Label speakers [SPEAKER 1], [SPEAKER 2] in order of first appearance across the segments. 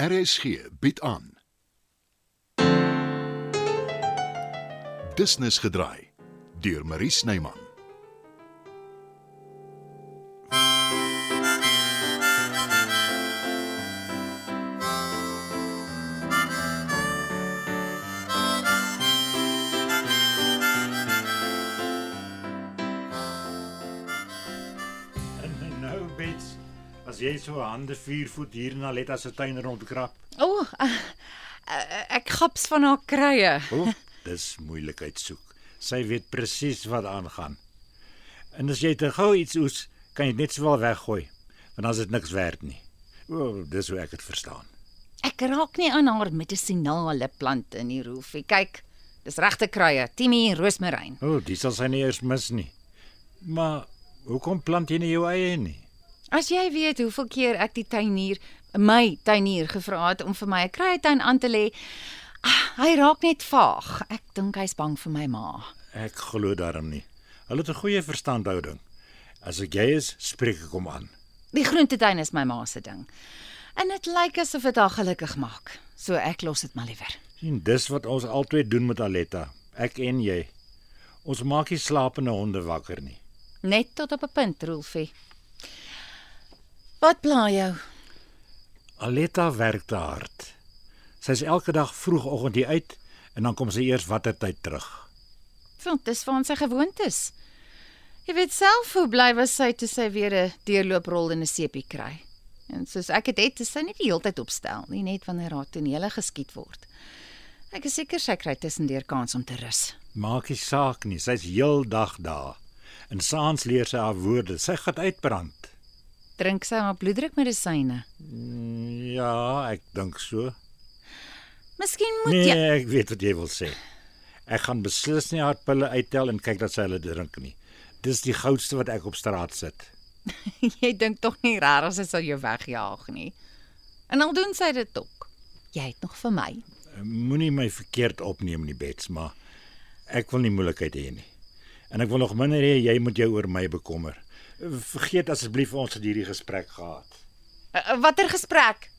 [SPEAKER 1] RSG bied aan. Business gedraai deur Marie Snyman.
[SPEAKER 2] En nou bets, as jy so hande vier voet hier na Letta se tuin rondkrap.
[SPEAKER 3] O, oh, ek gaps van haar kruie.
[SPEAKER 2] O, dis moeilikheid soek. Sy weet presies wat aangaan. En as jy te gou iets oes, kan jy dit net sowel weggooi, want dan is dit niks werd nie. O, dis hoe ek dit verstaan.
[SPEAKER 3] Ek raak nie aan haar medisinale plante nie, Roofie. Kyk, dis regte kruie, timie, roosmaryn.
[SPEAKER 2] O, dis sal sy nie eers mis nie. Maar hoekom plant jy nie jou eie nie?
[SPEAKER 3] As jy weet hoeveel keer ek die tuinier, my tuinier gevra het om vir my 'n kruietuin aan te lê, ah, hy raak net vaag. Ek dink hy's bang vir my ma.
[SPEAKER 2] Ek glo daarom nie. Hulle het 'n goeie verstandhouding. As ek jy is, spreek ek hom aan.
[SPEAKER 3] Die groentetuin is my ma se ding. En dit lyk asof dit haar gelukkig maak. So ek los dit maar liewer.
[SPEAKER 2] sien dis wat ons altyd doen met Aletta, ek en jy. Ons maak nie slapende honde wakker nie.
[SPEAKER 3] Net tot op 'n punt, Roofie. Wat pla jou?
[SPEAKER 2] Aletta werk te hard. Sy's elke dag vroegoggend hier uit en dan kom sy eers watter tyd terug.
[SPEAKER 3] Want dis van sy gewoontes. Jy weet self hoe bly was sy toe sy weer 'n deurlooprol en 'n seepie kry. En soos ek dit het, het, is sy nie die hele tyd opstel nie, net wanneer haar tonele geskiet word. Ek is seker sy kry tussendeur kans om te rus.
[SPEAKER 2] Maak nie saak nie, sy's heeldag daar. En saans leer sy haar woorde. Sy gaan uitbrand.
[SPEAKER 3] Drink sy haar bloeddrukmedisyne.
[SPEAKER 2] Ja, ek dink so.
[SPEAKER 3] Miskien moet
[SPEAKER 2] Nee,
[SPEAKER 3] jy
[SPEAKER 2] ek weet wat jy wil sê. Ek gaan beslis nie haar pille uittel en kyk dat sy hulle drink nie. Dis die goudste wat ek op straat sit.
[SPEAKER 3] jy dink tog nie regtig sy sal jou wegjaag nie. En al doen sy dit ook. Jy het nog vir my.
[SPEAKER 2] Moenie my verkeerd opneem nie, Bets, maar ek wil nie moeilikheid hê nie. En ek wil nog minder hê jy moet jou oor my bekommer. Vergeet asseblief ons het hierdie gesprek gehad.
[SPEAKER 3] Uh, Watter gesprek?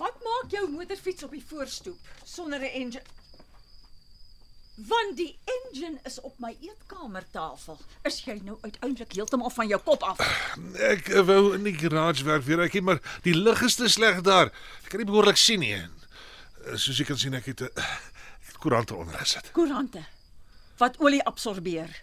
[SPEAKER 4] Wat maak jou motorfiets op die voorstoep sonder 'n engine? Want die engine is op my eetkamertafel. Is jy nou uiteindelik heeltemal van jou kop af?
[SPEAKER 5] Ek eh, wou in die garage werk weer uitkie, maar die lig is te sleg daar. Ek kan nie behoorlik sien nie. En, eh, Soos jy kan sien, ek het eh, ek het koerante ondergesit.
[SPEAKER 4] Koerante wat olie absorbeer.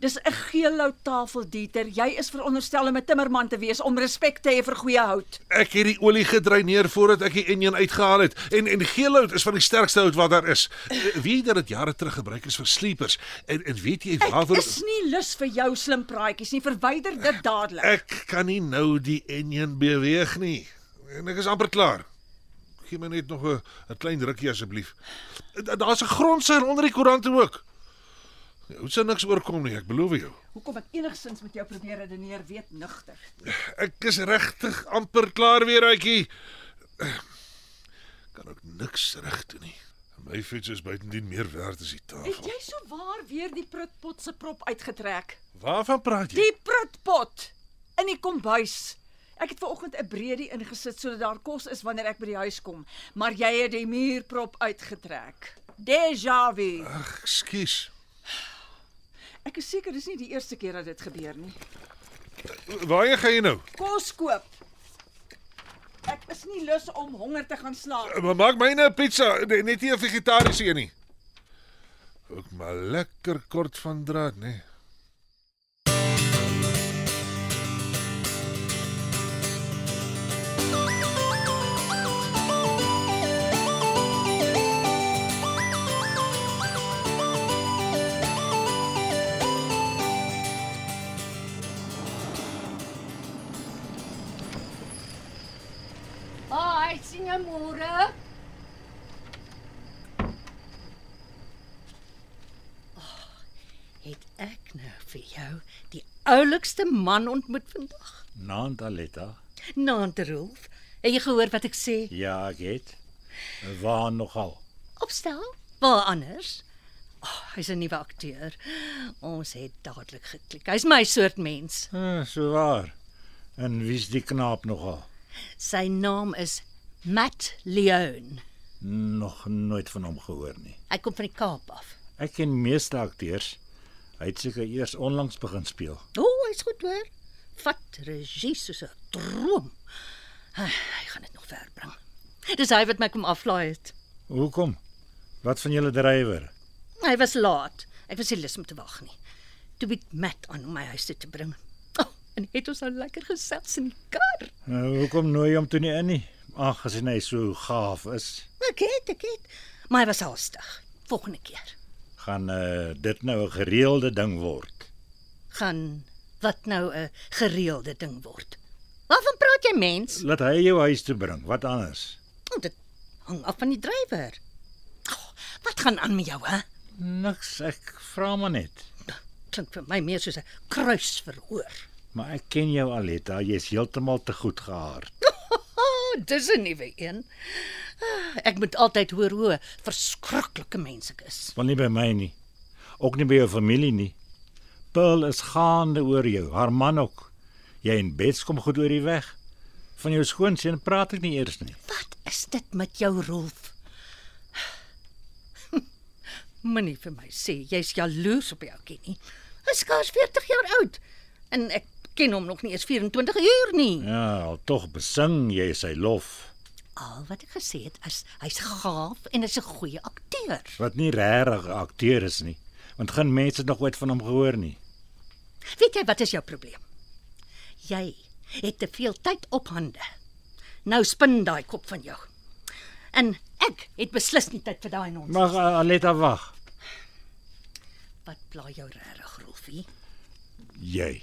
[SPEAKER 4] Dis 'n geellou tafeldieter. Jy is veronderstel om 'n timmerman te wees om respek te hê vir goeie hout.
[SPEAKER 5] Ek het die olie gedreineer voordat ek die enjin uitgehaal het. En en geel hout is van die sterkste hout wat daar is. Eh, Weet jy dat dit jare terug gebruik is vir sleepers? En en weet jy
[SPEAKER 4] Ek
[SPEAKER 5] waarvoor
[SPEAKER 4] is nie lus vir jou slim praatjies nie. Verwyder dit dadelik.
[SPEAKER 5] ek kan nie nou die enjin beweeg nie. En ek is amper klaar. Gee my net nog 'n 'n klein rukkie asseblief. Da- Daar's 'n grondseil onder die koerante ook. Hoe sou niks oorkom nie, ek beloof jou.
[SPEAKER 4] Hoekom ek enigstens met jou probeer redeneer, weet nugter.
[SPEAKER 5] Ek is regtig amper klaar weer uitjie. Kan ook niks reg doen nie. My fiets is buitendien meer werd as die
[SPEAKER 4] Het
[SPEAKER 5] tafel.
[SPEAKER 4] jy so waar weer die prutpot se prop uitgetrek?
[SPEAKER 5] Waarvan praat jy?
[SPEAKER 4] Die prutpot in die kombuis. Ek het ver oggend 'n breedie ingesit sodat daar kos is wanneer ek by die huis kom, maar jy het die muurprop uitgetrek. Déjà vu.
[SPEAKER 5] Ag, ekskuus.
[SPEAKER 4] Ek is seker dis nie die eerste keer dat dit gebeur nie.
[SPEAKER 5] Waarheen gaan jy nou?
[SPEAKER 4] Kos koop. Ek is nie lus om honger te gaan slaap.
[SPEAKER 5] Maar maak myne 'n pizza, nee, net nie 'n vegetariese een nie. Ook maar lekker kort van draad, nê. Nee.
[SPEAKER 6] Hi, sien jou môre.
[SPEAKER 7] het ek nou vir jou die oulikste man ontmoet vandag.
[SPEAKER 2] Naand Aletta.
[SPEAKER 6] Naand Rolf. Het jy gehoor wat ek sê?
[SPEAKER 2] Ja, ek het. Waar nogal.
[SPEAKER 6] Opstel? Waar anders? Oh, hy's 'n nuwe akteur. Ons het dadelik geklik. Hy's my soort mens.
[SPEAKER 2] Uh, so waar. En wie's die knaap nogal?
[SPEAKER 6] Sy naam is Matt Leone.
[SPEAKER 2] Nog nooit van hom gehoor nie.
[SPEAKER 6] Hy kom van die Kaap af.
[SPEAKER 2] Ek ken meeste akteurs. Hy het seker eers onlangs begin speel.
[SPEAKER 6] O, oh, hy's goed hoor. Vat regie soos 'n droom. Ah, Hy gaan dit nog ver bring. Dis hy wat my kom aflaai het.
[SPEAKER 2] Hoekom? Wat van julle drywer?
[SPEAKER 6] Hy was laat. Ek was nie lus om te wag nie. Toe bied Matt aan om my huis toe te bring. Oh, en het ons nou lekker gesels in die kar.
[SPEAKER 2] Nou, hoekom nooi jy hom toe nie in nie? Aangesien hy so gaaf is,
[SPEAKER 6] Ek het, ek het. Maar hy was haastig. Volgende keer
[SPEAKER 2] gaan uh, dit nou 'n gereelde ding word.
[SPEAKER 6] gaan wat nou 'n gereelde ding word. Waarvan praat jy, mens?
[SPEAKER 2] Laat hy jou huis toe bring, wat anders?
[SPEAKER 6] Oh, dit hang af van die drywer. Oh, wat gaan aan met jou, hè?
[SPEAKER 2] Niks, ek vra maar net.
[SPEAKER 6] klink vir my meer soos 'n kruisverhoor.
[SPEAKER 2] Maar ek ken jou Aletta, jy's heeltemal te goed gehaard.
[SPEAKER 6] Oh, dis 'n nuwe een. Ah, Ek moet altyd hoor hoe 'n verskriklike mens ek is.
[SPEAKER 2] Wel nie by my nie. Ook nie by jou familie nie. Pearl is gaande oor jou, haar man ook. Jy en Bets kom goed oor die weg. Van jou skoonseun praat ek nie eers nie.
[SPEAKER 6] Wat is dit met jou, Rolf? Moenie vir my sê jy's jaloers op die ouetjie nie. Hy's skaars 40 jaar oud en ek ken hom nog nie eens 24 uur nie.
[SPEAKER 2] Ja, al tog besing jy sy lof,
[SPEAKER 6] Al wat ek gesê het is hy's gaaf en hy's 'n goeie akteur.
[SPEAKER 2] wat nie regtig 'n akteur is nie, want geen mens het nog ooit van hom gehoor nie.
[SPEAKER 6] Weet jy wat is jou probleem? Jy het te veel tyd op hande. Nou spin daai kop van jou. En ek het beslis nie tyd vir daai nonsens.
[SPEAKER 2] Mag uh, Aletta wag.
[SPEAKER 6] Wat pla jou regtig, Rolfie?
[SPEAKER 2] Jy.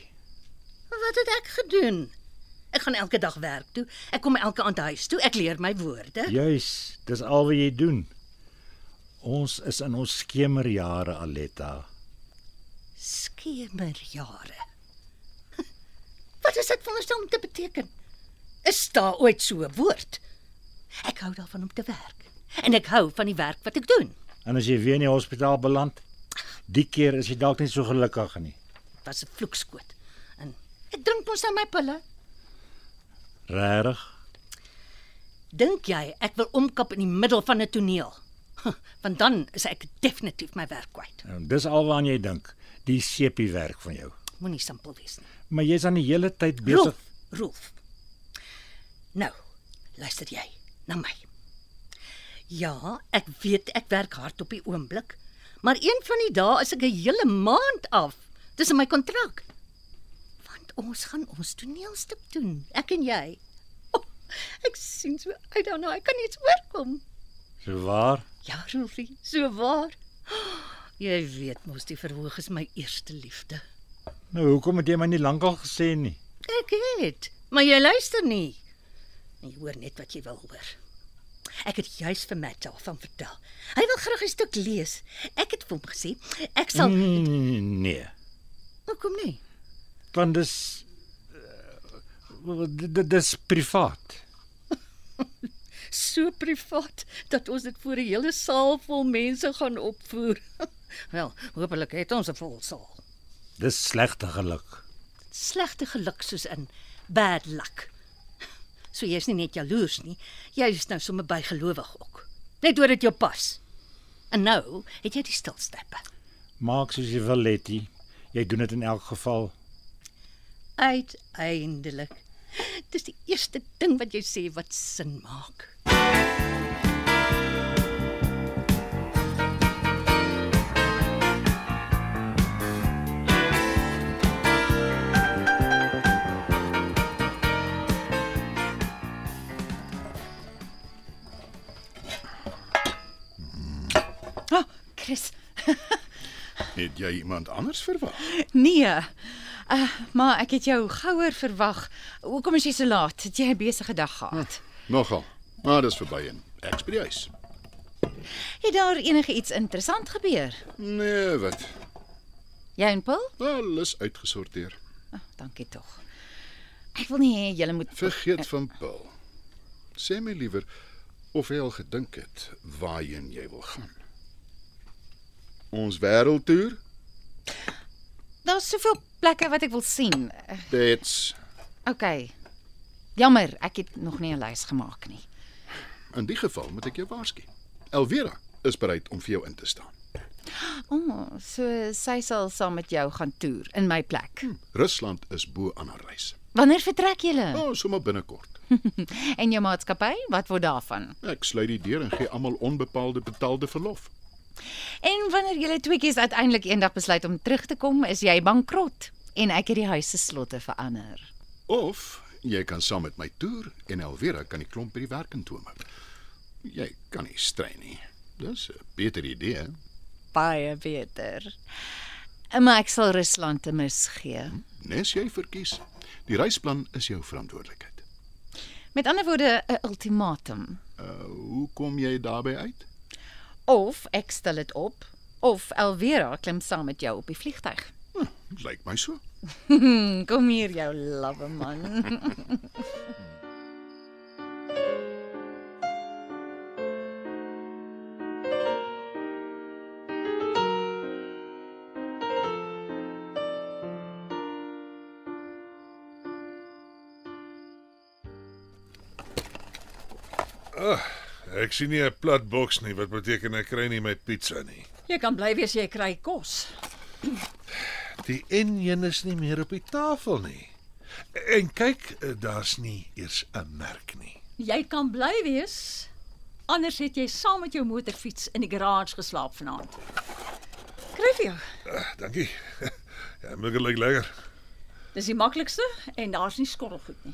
[SPEAKER 6] Wat het ek gedoen? Ek gaan elke dag werk toe. Ek kom elke aand huis toe. Ek leer my woorde.
[SPEAKER 2] Ja. Juis, dis al wat jy doen. Ons is in ons skemerjare, Aletta.
[SPEAKER 6] Skemerjare. Wat is dit veronderstel om te beteken? Is daar ooit so 'n woord? Ek hou daarvan om te werk en ek hou van die werk wat ek doen.
[SPEAKER 2] En as jy weer in die hospitaal beland, die keer is jy dalk nie so gelukkig nie.
[SPEAKER 6] was 'n vloekskoot. En ek drink mos nou my pille.
[SPEAKER 2] Regtig?
[SPEAKER 6] Dink jy ek wil omkap in die middel van 'n toneel? Huh, Want dan is ek definitief my werk kwyt.
[SPEAKER 2] Nou, dis alwaar jy dink, die sepie werk van jou.
[SPEAKER 6] Moenie simpel wees nie.
[SPEAKER 2] Maar jy's aan die hele tyd besig.
[SPEAKER 6] Rolf, Rolf. Nou, luister jy na my. Ja, ek weet ek werk hard op die oomblik, maar een van die dae is ek 'n hele maand af. Dis in my kontrak. Want ons gaan ons toneelstuk doen, ek en jy. Oh, ek sien so uit daarna. Ek kan nie eens oorkom.
[SPEAKER 2] So waar?
[SPEAKER 6] Ja, Rolfie, so waar. Jy weet mos die verhoog is my eerste liefde.
[SPEAKER 2] Nou hoekom het jy my nie lankal gesê nie?
[SPEAKER 6] Ek het, maar jy luister nie. En jy hoor net wat jy wil hoor. Ek het juis vir Matt daarvan vertel. Hy wil graag 'n stuk lees. Ek het vir hom gesê, ek sal
[SPEAKER 2] Nee, nee, nee.
[SPEAKER 6] Hoekom nie?
[SPEAKER 2] Want dis eh, dit- dit dis privaat.
[SPEAKER 6] So privaat dat ons dit voor 'n hele saal vol mense gaan opvoer. Wel, hopelik het ons 'n vol saal.
[SPEAKER 2] Dis slegte geluk.
[SPEAKER 6] Slegte geluk soos in bad luck. So jy's nie net jaloers nie, jy's nou sommer bygelowig ook. Net oor dit jou pas. En nou het jy die stilstappe.
[SPEAKER 2] Maak soos jy wil, Letty. Jy doen dit in elk geval.
[SPEAKER 6] Uiteindelik. Dis die eerste ding wat jy sê wat sin maak.
[SPEAKER 3] O, oh, Chris.
[SPEAKER 1] Het jy iemand anders verwag?
[SPEAKER 3] Nee. Uh, maar ek het jou gouer verwag. Hoekom is jy so laat? Het jy 'n besige dag gehad?
[SPEAKER 1] Nogal. Maar dis verby en ek's by die huis.
[SPEAKER 3] Het daar enige iets interessant gebeur?
[SPEAKER 1] Nee, wat?
[SPEAKER 3] Jy en Paul?
[SPEAKER 1] Alles uitgesorteer.
[SPEAKER 3] Oh, dankie Ah, tog. Ek wil nie hê julle moet
[SPEAKER 1] Vergeet van Paul. Sê my liewer of jy al gedink het waarheen jy wil gaan. Ons wêreldtoer?
[SPEAKER 3] Daar's soveel plekke wat ek wil sien.
[SPEAKER 1] Dit's
[SPEAKER 3] OK. Jammer, ek het nog nie 'n lys gemaak nie.
[SPEAKER 1] in die geval moet ek jou waarsku. Elvira is bereid om vir jou in te staan.
[SPEAKER 3] O, oh, so sy sal saam met jou gaan toer in my plek.
[SPEAKER 1] Rusland is bo aan haar reis.
[SPEAKER 3] Hm. Wanneer vertrek julle?
[SPEAKER 1] Nou, oh, sommer binnekort.
[SPEAKER 3] En jou maatskappy, wat word daarvan?
[SPEAKER 1] Ek sluit die deur en gee almal onbepaalde betaalde verlof.
[SPEAKER 3] En wanneer julle tweeetjies uiteindelik eendag besluit om terug te kom, is jy bankrot en ek het die huis se slotte verander.
[SPEAKER 1] Of jy kan saam met my toer en Elvira kan die klomp by die werk intome. Jy kan nie strei nie. Dis 'n beter idee. hè?
[SPEAKER 3] Baie beter. Maar ek sal Rusland te mis gee.
[SPEAKER 1] Nes jy verkies. Die reisplan is jou verantwoordelikheid.
[SPEAKER 3] Met ander woorde 'n ultimatum.
[SPEAKER 1] Uh, hoe kom jy daarby uit?
[SPEAKER 3] Of ek stel dit op of Elvira klim saam met jou op die vliegtyg. Mm,
[SPEAKER 1] Hm, lyk my so.
[SPEAKER 3] Kom hier jou lawwe man.
[SPEAKER 5] Ek sien nie 'n plat boks nie, wat beteken ek kry nie my pizza nie.
[SPEAKER 4] Jy kan bly wees jy kry kos.
[SPEAKER 5] Die enjin is nie meer op die tafel nie. En kyk, eh, daar's nie eers 'n merk nie.
[SPEAKER 4] Jy kan bly wees. Anders het jy saam met jou motorfiets in die garage geslaap vanaand. Kry vir jou.
[SPEAKER 5] Ah, dankie. Ja, moet lyk lekker.
[SPEAKER 4] Dis die maklikste en daar's nie skorrelgoed nie.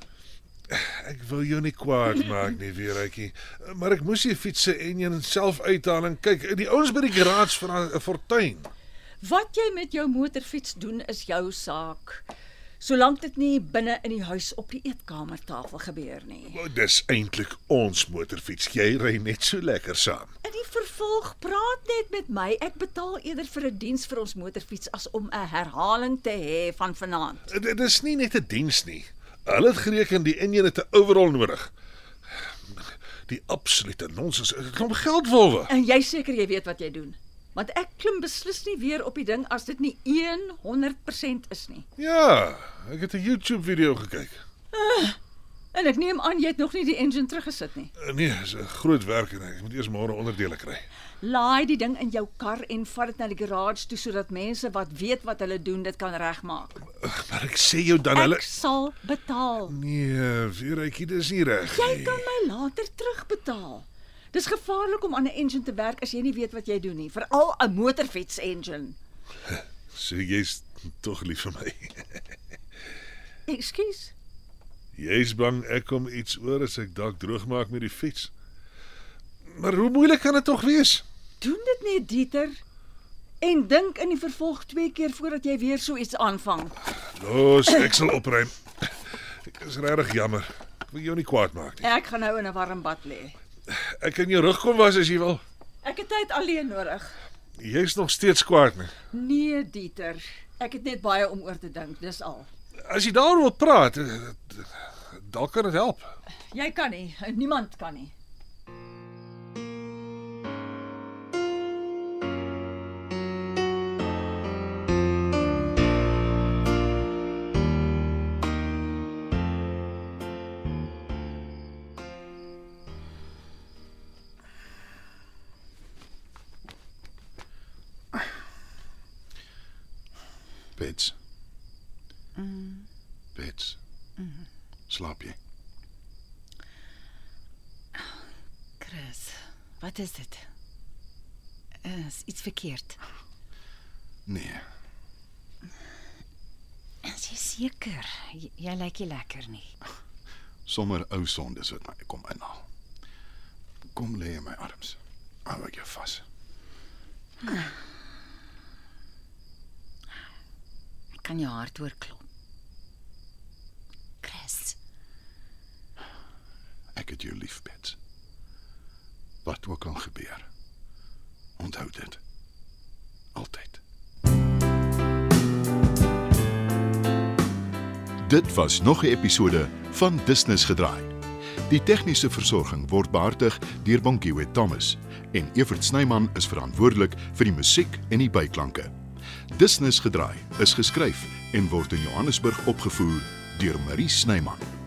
[SPEAKER 5] Ek wil jou nie kwaad maak nie, Weeretjie, maar ek moes die fiets se enjin self uithaal en kyk, die ouens by die garage vra 'n fortuin.
[SPEAKER 4] Wat jy met jou motorfiets doen is jou saak. Solank dit nie binne in die huis op die eetkamertafel gebeur nie.
[SPEAKER 5] Wel, Dis eintlik ons motorfiets. Jy ry net so lekker saam.
[SPEAKER 4] In die vervolg praat net met my. Ek betaal eerder vir 'n diens vir ons motorfiets as om 'n herhaling te hê van vanaand.
[SPEAKER 5] Dit is nie net 'n diens nie. Hulle het gereken die enjin het 'n overhaul nodig. Die absolute nonsens. Dit klomp geld wolwe.
[SPEAKER 4] En jy seker jy weet wat jy doen. Want ek klim beslis nie weer op die ding as dit nie 100% is nie.
[SPEAKER 5] Ja, ek het 'n YouTube video gekyk.
[SPEAKER 4] En ek neem aan jy het nog nie die engine teruggesit nie.
[SPEAKER 5] Nee, is 'n groot werk en ek moet eers môre onderdele kry.
[SPEAKER 4] Laai die ding in jou kar en vat dit na die garage toe sodat mense wat weet wat hulle doen dit kan regmaak.
[SPEAKER 5] Maar ek sê jou dan hulle
[SPEAKER 4] Ek sal betaal.
[SPEAKER 5] Nee, Veretjie, dis nie reg
[SPEAKER 4] Jy
[SPEAKER 5] nie.
[SPEAKER 4] kan my later terugbetaal. Dis gevaarlik om aan 'n engine te werk as jy nie weet wat jy doen nie, veral 'n motorfiets engine.
[SPEAKER 5] So jy's tog lief vir my.
[SPEAKER 4] Ekskuus.
[SPEAKER 5] Jy's bang ek kom iets oor as ek dalk droog maak met die fiets. Maar hoe moeilik kan dit tog wees?
[SPEAKER 4] Doen dit net, Dieter. En dink in die vervolg twee keer voordat jy weer so iets aanvang.
[SPEAKER 5] Los, ek sal opruim. Ek is regtig jammer. Ek wil jou nie kwaad maak nie.
[SPEAKER 4] Ek gaan nou in 'n warm bad lê.
[SPEAKER 5] Ek kan jou rug kom was as jy wil.
[SPEAKER 4] Ek het tyd alleen nodig.
[SPEAKER 5] Jy's nog steeds kwaad nie.
[SPEAKER 4] Nee, Dieter. Ek het net baie om oor te dink, dis al.
[SPEAKER 5] As jy daaroor wil praat, eh, dalk kan dit help.
[SPEAKER 4] Jy kan nie, en niemand kan nie.
[SPEAKER 1] Bets. Bets. Slaap jy?
[SPEAKER 3] Chris, wat is dit? Is iets verkeerd?
[SPEAKER 1] Nee,
[SPEAKER 3] Is jy seker? J jy lyk nie lekker nie.
[SPEAKER 1] sommer ou sondes wat my kom inhaal. Kom lê in my arms. Hou ek jou vas.
[SPEAKER 3] Ek kan jou hart hoor klop. Chris,
[SPEAKER 1] Ek het jou lief, Bets. Wat ook al gebeur. Onthou dit. Altyd. Dit was nog 'n episode van Business Gedraai. Die tegniese versorging word behartig deur Bonnie Witt Thomas en Evert Snyman is verantwoordelik vir die musiek en die byklanke. Business Gedraai is geskryf en word in Johannesburg opgevoer deur Marie Snyman.